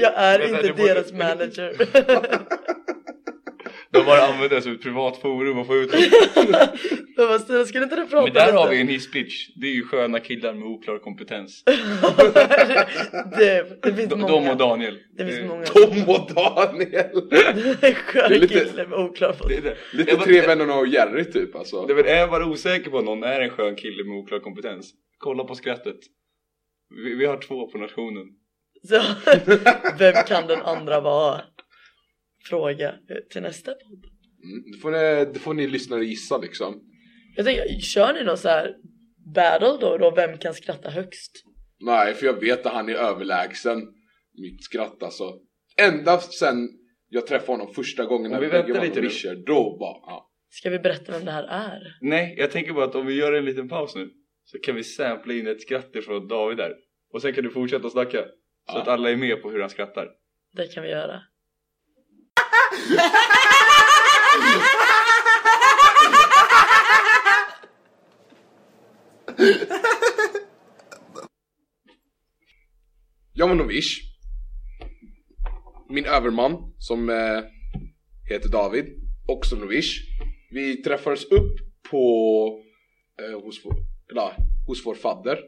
Jag är Vänta, inte du borde- deras manager. (laughs) De bara använder det som ett privat forum och får ut det. Jag bara, Stina skulle inte du prata Men där lite? har vi en hisspitch. Det är ju sköna killar med oklar kompetens. det, det finns De, många. de och Daniel. Eh, Det finns många. (laughs) Tom och Daniel. Sköna Det är lite- killar med oklar Det, det, Lite Jag bara- tre vännerna och Jerry typ alltså. Det är väl- är jag bara osäker på om någon är en skön kille med oklar kompetens. Kolla på skrattet. Vi, vi har två på nationen. Så, (laughs) vem kan den andra vara? Fråga till nästa podd. Mm, Det får ni, det får ni lyssnare gissa liksom. Jag tänker, kör ni någon så här battle då, då? Vem kan skratta högst? Nej, för jag vet att han är överlägsen mitt skratt alltså. Ända sen jag träffade honom första gången Om när vi vi bägge väntar var lite nu. noviser, då bara... Ja. Ska vi berätta vem det här är? Nej, jag tänker bara att om vi gör en liten paus nu så kan vi sampla in ett skratt ifrån David där. Och sen kan du fortsätta snacka. Så Ja. att alla är med på hur han skrattar. Det kan vi göra. Jag var novis. Min överman, som eh, heter David, också novis. Vi träffades upp på... Eh, hos, vår, eller, hos vår fadder.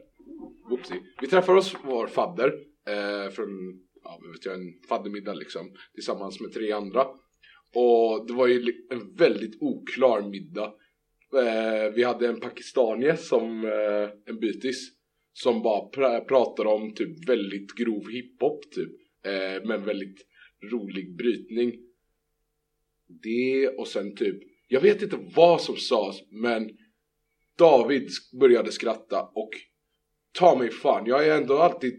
Oopsie. Vi träffade oss vår fadder eh, från ja, vad vet jag, en faddermiddag liksom, tillsammans med tre andra. Och det var ju li- en väldigt oklar middag. Eh, vi hade en pakistanie som eh, en bytis som bara pra- pratar om typ väldigt grov hiphop typ. Eh, men väldigt rolig brytning. Det och sen typ, jag vet inte vad som sades men David sk- började skratta och ta mig fan, jag har ju ändå alltid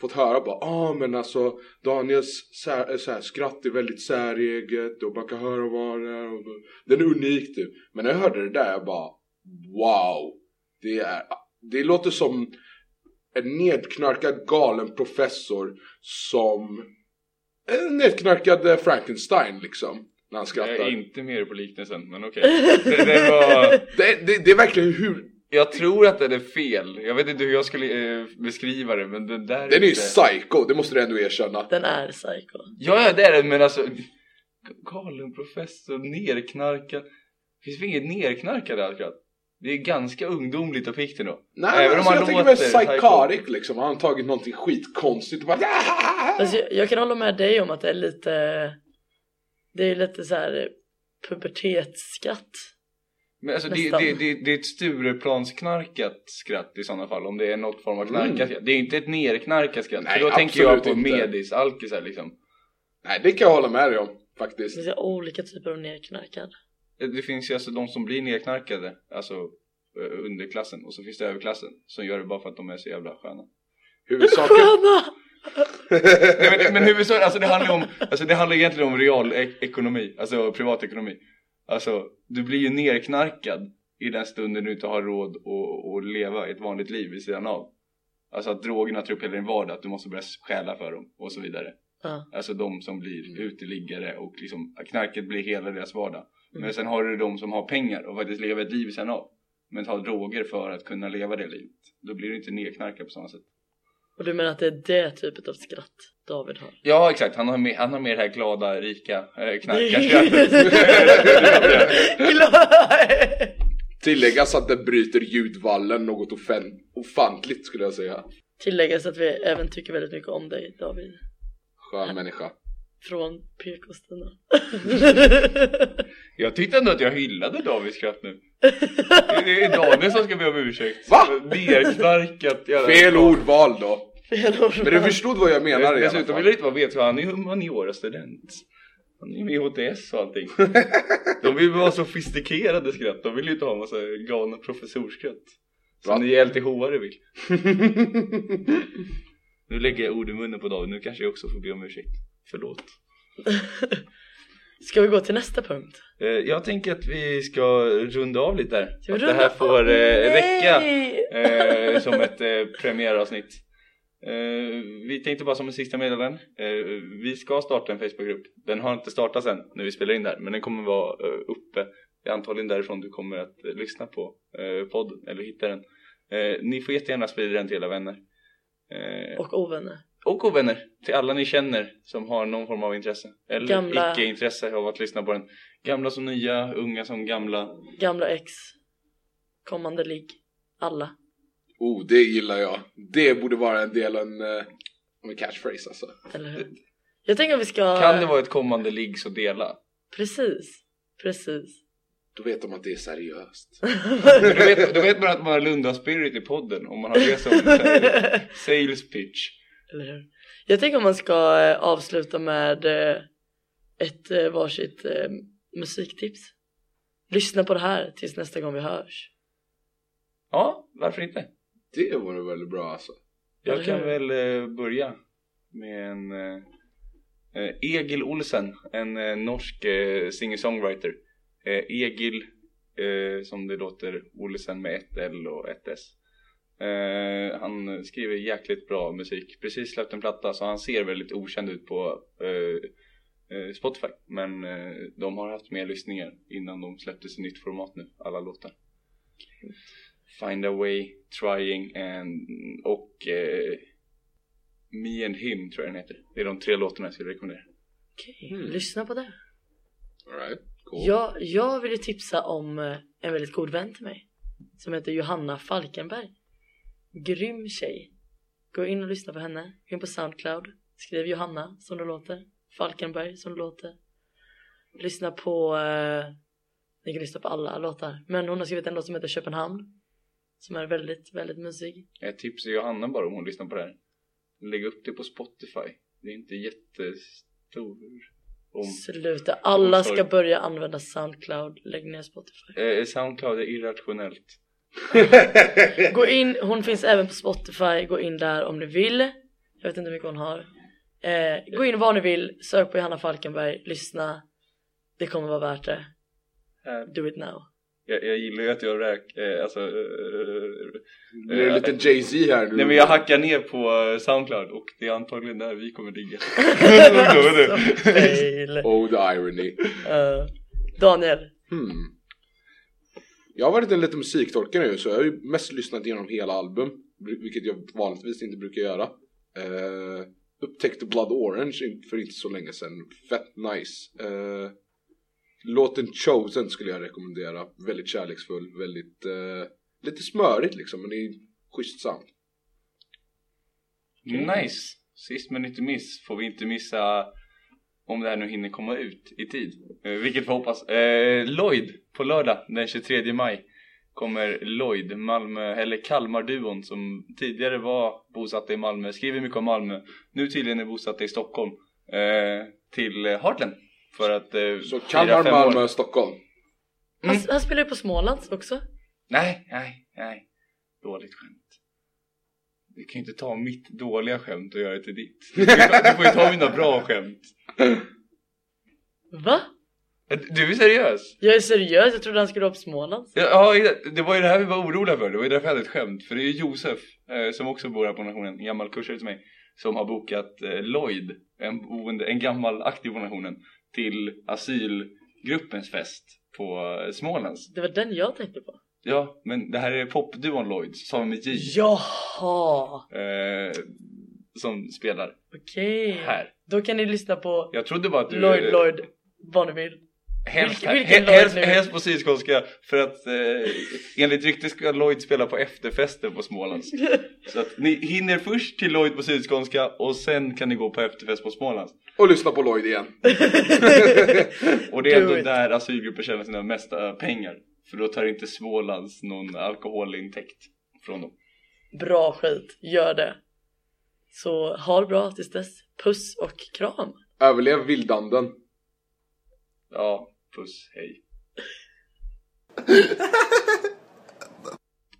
fått höra bara ah men alltså Daniels sär, så här, skratt är väldigt säreget och man kan höra vad det är och den är unik typ. Men när jag hörde det där jag bara wow. Det är det låter som en nedknarkad galen professor som en nedknarkad eh, Frankenstein liksom. När han Jag skrattar. är inte med på liknelsen, men (laughs) okej. Det, det var... Det, det, det är verkligen hur... Jag tror att den är fel. Jag vet inte hur jag skulle eh, beskriva det, men den där... Den är ju inte- psycho, det måste du ändå erkänna. Den är psycho. Ja, ja, det är den, men alltså... Galen professor, nerknarkad. Finns det inget nerknarkad här, tror jag? Det är ganska ungdomligt och pikt ändå. Nej, Även men om alltså, han jag tänker mig låter psycho. psychotic liksom. Han har tagit någonting skitkonstigt och bara... Alltså, jag, jag kan hålla med dig om att det är lite Det är lite så här pubertetsskatt. Men alltså det, Nästan. det, det, det är ett Stureplansknarkat skratt i sådana fall om det är något form av Mm. knarkat skratt. Det är inte ett nerknarkat skratt. Nej, för då tänker jag absolut på inte. medis, alkisar liksom. Nej, det kan jag hålla med dig om Det faktiskt. finns ju olika typer av nerknarkad. Det finns ju alltså de som blir nerknarkade, alltså eh, underklassen och så finns det överklassen som gör det bara för att de är så jävla sköna. (laughs) Huvudsaken... Sköna! Nej, men, men huvudsaken, alltså det handlar ju om, alltså det handlar egentligen om realekonomi, alltså privatekonomi. Alltså du blir ju nerknarkad i den stunden du inte har råd att, att leva ett vanligt liv vid sidan av. Alltså att drogerna tar upp hela din vardag, att du måste börja stjäla för dem och så vidare. Ja. Alltså de som blir uteliggare och liksom knarket blir hela deras vardag. Mm. Men sen har du de som har pengar och faktiskt lever ett liv vid sidan av. Men tar droger för att kunna leva det livet. Då blir du inte nerknarkad på samma sätt. Och du menar att det är det typet av skratt David har? Ja exakt, han har, mer- han har mer det här glada, rika eh, (laughs) knarkarskratt. knarkarskrattet. Tilläggas att det bryter ljudvallen något ofen- ofantligt skulle jag säga. Tilläggas att vi även tycker väldigt mycket om dig David. Skön människa. Från PK-Stina. (laughs) Jag tyckte ändå att jag hyllade Davids skratt nu. Det är Daniel som ska be om ursäkt. Va? Nerknarkat. jävla- Fel ordval då. Fel ord. Men du förstod vad jag menar i alla Dessutom vill jag fall. inte bara veta, han är ju humaniorastudent. Han är ju med i HTS och (laughs) allting. De vill ju ha sofistikerade skratt, de vill ju inte ha massa galna professorsskratt. Bra. Som ni LTH-are vill. (laughs) Nu lägger jag ord i munnen på David, nu kanske jag också får be om ursäkt. Förlåt. Ska vi gå till nästa punkt? Eh, Jag tänker att vi ska runda av lite där. Ska vi Att det runda här får eh, räcka. Nej! eh, som ett eh, premiäravsnitt. Eh, vi tänkte bara som en sista meddelande. Eh, vi ska starta en Facebookgrupp. Den har inte startats än när vi spelar in där, men den kommer vara eh, uppe. Det är antagligen därifrån du kommer att eh, lyssna på eh, podden eller hitta den. Eh, ni får jättegärna sprida den till era vänner. Eh, Och ovänner. och ovänner till alla ni känner som har någon form av intresse eller Gamla. icke-intresse av att lyssna på den. Gamla som nya, unga som gamla. Gamla ex. Kommande ligg. Alla. Oh, det gillar jag. Det borde vara en del av en, eh, en catchphrase alltså. Eller hur? Jag tänker att vi ska... Eh. Kan det vara ett kommande ligg så dela. Precis. Precis. Då vet de att det är seriöst. Men Då vet, då vet man att man har Lunda Spirit i podden om man har det som så här, sales pitch. Eller hur? Jag tänker om man ska eh, avsluta med eh, ett eh, varsitt eh, musiktips. Lyssna på det här tills nästa gång vi hörs. Ja, varför inte? Det vore väldigt bra alltså. Jag kan väl eh, börja med en eh, eh, Egil Olsen, en eh, norsk eh, singer-songwriter. Eh, Egil, eh, som det låter, Olsen med ett L och ett S. Eh, han skriver jäkligt bra musik, precis släppt en platta så han ser väldigt okänd ut på eh, eh, Spotify. Men eh, de har haft mer lyssningar innan de släppte sitt nytt format nu, alla låtar. Find a way, trying and, och eh, Me and him tror jag den heter. Det är de tre låtarna jag skulle rekommendera. Okej, Mm. lyssna på det. Alright, cool. Jag, jag ville tipsa om eh, en väldigt god vän till mig som heter Johanna Falkenberg. Grym tjej. Gå in och lyssna på henne. Gå in på Soundcloud. Skriv Johanna som det låter. Falkenberg som det låter. Lyssna på... Eh, ni kan lyssna på alla låtar. Men hon har skrivit en låt som heter Köpenhamn. Som är väldigt, väldigt musig. Jag tipsar Johanna bara om hon lyssnar på det här. Lägg upp det på Spotify. Det är inte jättestor om. Sluta. Alla Sorry. ska börja använda Soundcloud. Lägg ner Spotify. Eh, Soundcloud är irrationellt. Gå in, hon finns även på Spotify, gå in där om ni vill. Jag vet inte hur mycket hon har. Eh, gå in var ni vill, sök på Johanna Falkenberg, lyssna. Det kommer vara värt det. Eh, Do (laughs) it now. (laughs) Jag, jag gillar ju att jag räk, eh, alltså, eh, Nu är det lite Jay-Z här nu. nej men jag hackar ner på eh, Soundcloud och det är antagligen där vi kommer ligga. Alltså, fail. Oh the irony. Eh, Daniel, Hmm. Jag har varit en liten musiktorka nu så jag har ju mest lyssnat igenom hela album. br- Vilket jag vanligtvis inte brukar göra. Eh, upptäckte Blood Orange in- för inte så länge sedan. Fett nice. Eh, låten Chosen skulle jag rekommendera. Väldigt kärleksfull, väldigt... Eh, lite smörigt liksom men det är schysst sound. Nice! Sist men inte miss får vi inte missa om det här nu hinner komma ut i tid. Eh, vilket vi hoppas. Eh, Lloyd på lördag den 23 maj kommer Lloyd, Malmö, eller Kalmar-duon som tidigare var bosatta i Malmö, skriver mycket om Malmö, nu tydligen är bosatta i Stockholm, eh, till eh, Heartland. För att eh, fira Så Kalmar, fem år. Malmö, Stockholm. han, Mm. han spelar ju på Smålands också. Nej, nej, nej. Dåligt skämt. Du kan ju inte ta mitt dåliga skämt och göra det till ditt. Du får ju ta- du får ju ta mina bra skämt. Va? Du är seriös? Jag är seriös, jag trodde han skulle vara på Smålands. Ja, ja, det var ju det här vi var oroliga för. Det var ju därför jag hade ett skämt. För det är ju Josef, eh, som också bor här på nationen, en gammal kursare till mig, som har bokat eh, Lloyd, en, boende, en gammal aktiv på nationen, till asylgruppens fest på eh, Smålands. Det var den jag tänkte på. Ja, men det här är popduon Lloyd, som med J. Jaha! Eh, som spelar Okej. här. Då kan ni lyssna på Jag trodde bara att du... eh, Lloyd Lloyd (laughs) Bonneville. Helst, Vilken- vilken he- Lloyd helst, nu? helst på sydskånska för att eh, enligt rykte ska Lloyd spela på efterfesten på Smålands. Så att ni hinner först till Lloyd på sydskånska och sen kan ni gå på efterfest på Smålands. Och lyssna på Lloyd igen. Och det är Do ändå it. där asylgruppen tjänar sina mesta pengar. För då tar inte Smålands någon alkoholintäkt från dem. bra skit, gör det. Så ha det bra tills dess. Puss och kram. Överlev vildanden. Ja, puss, hej.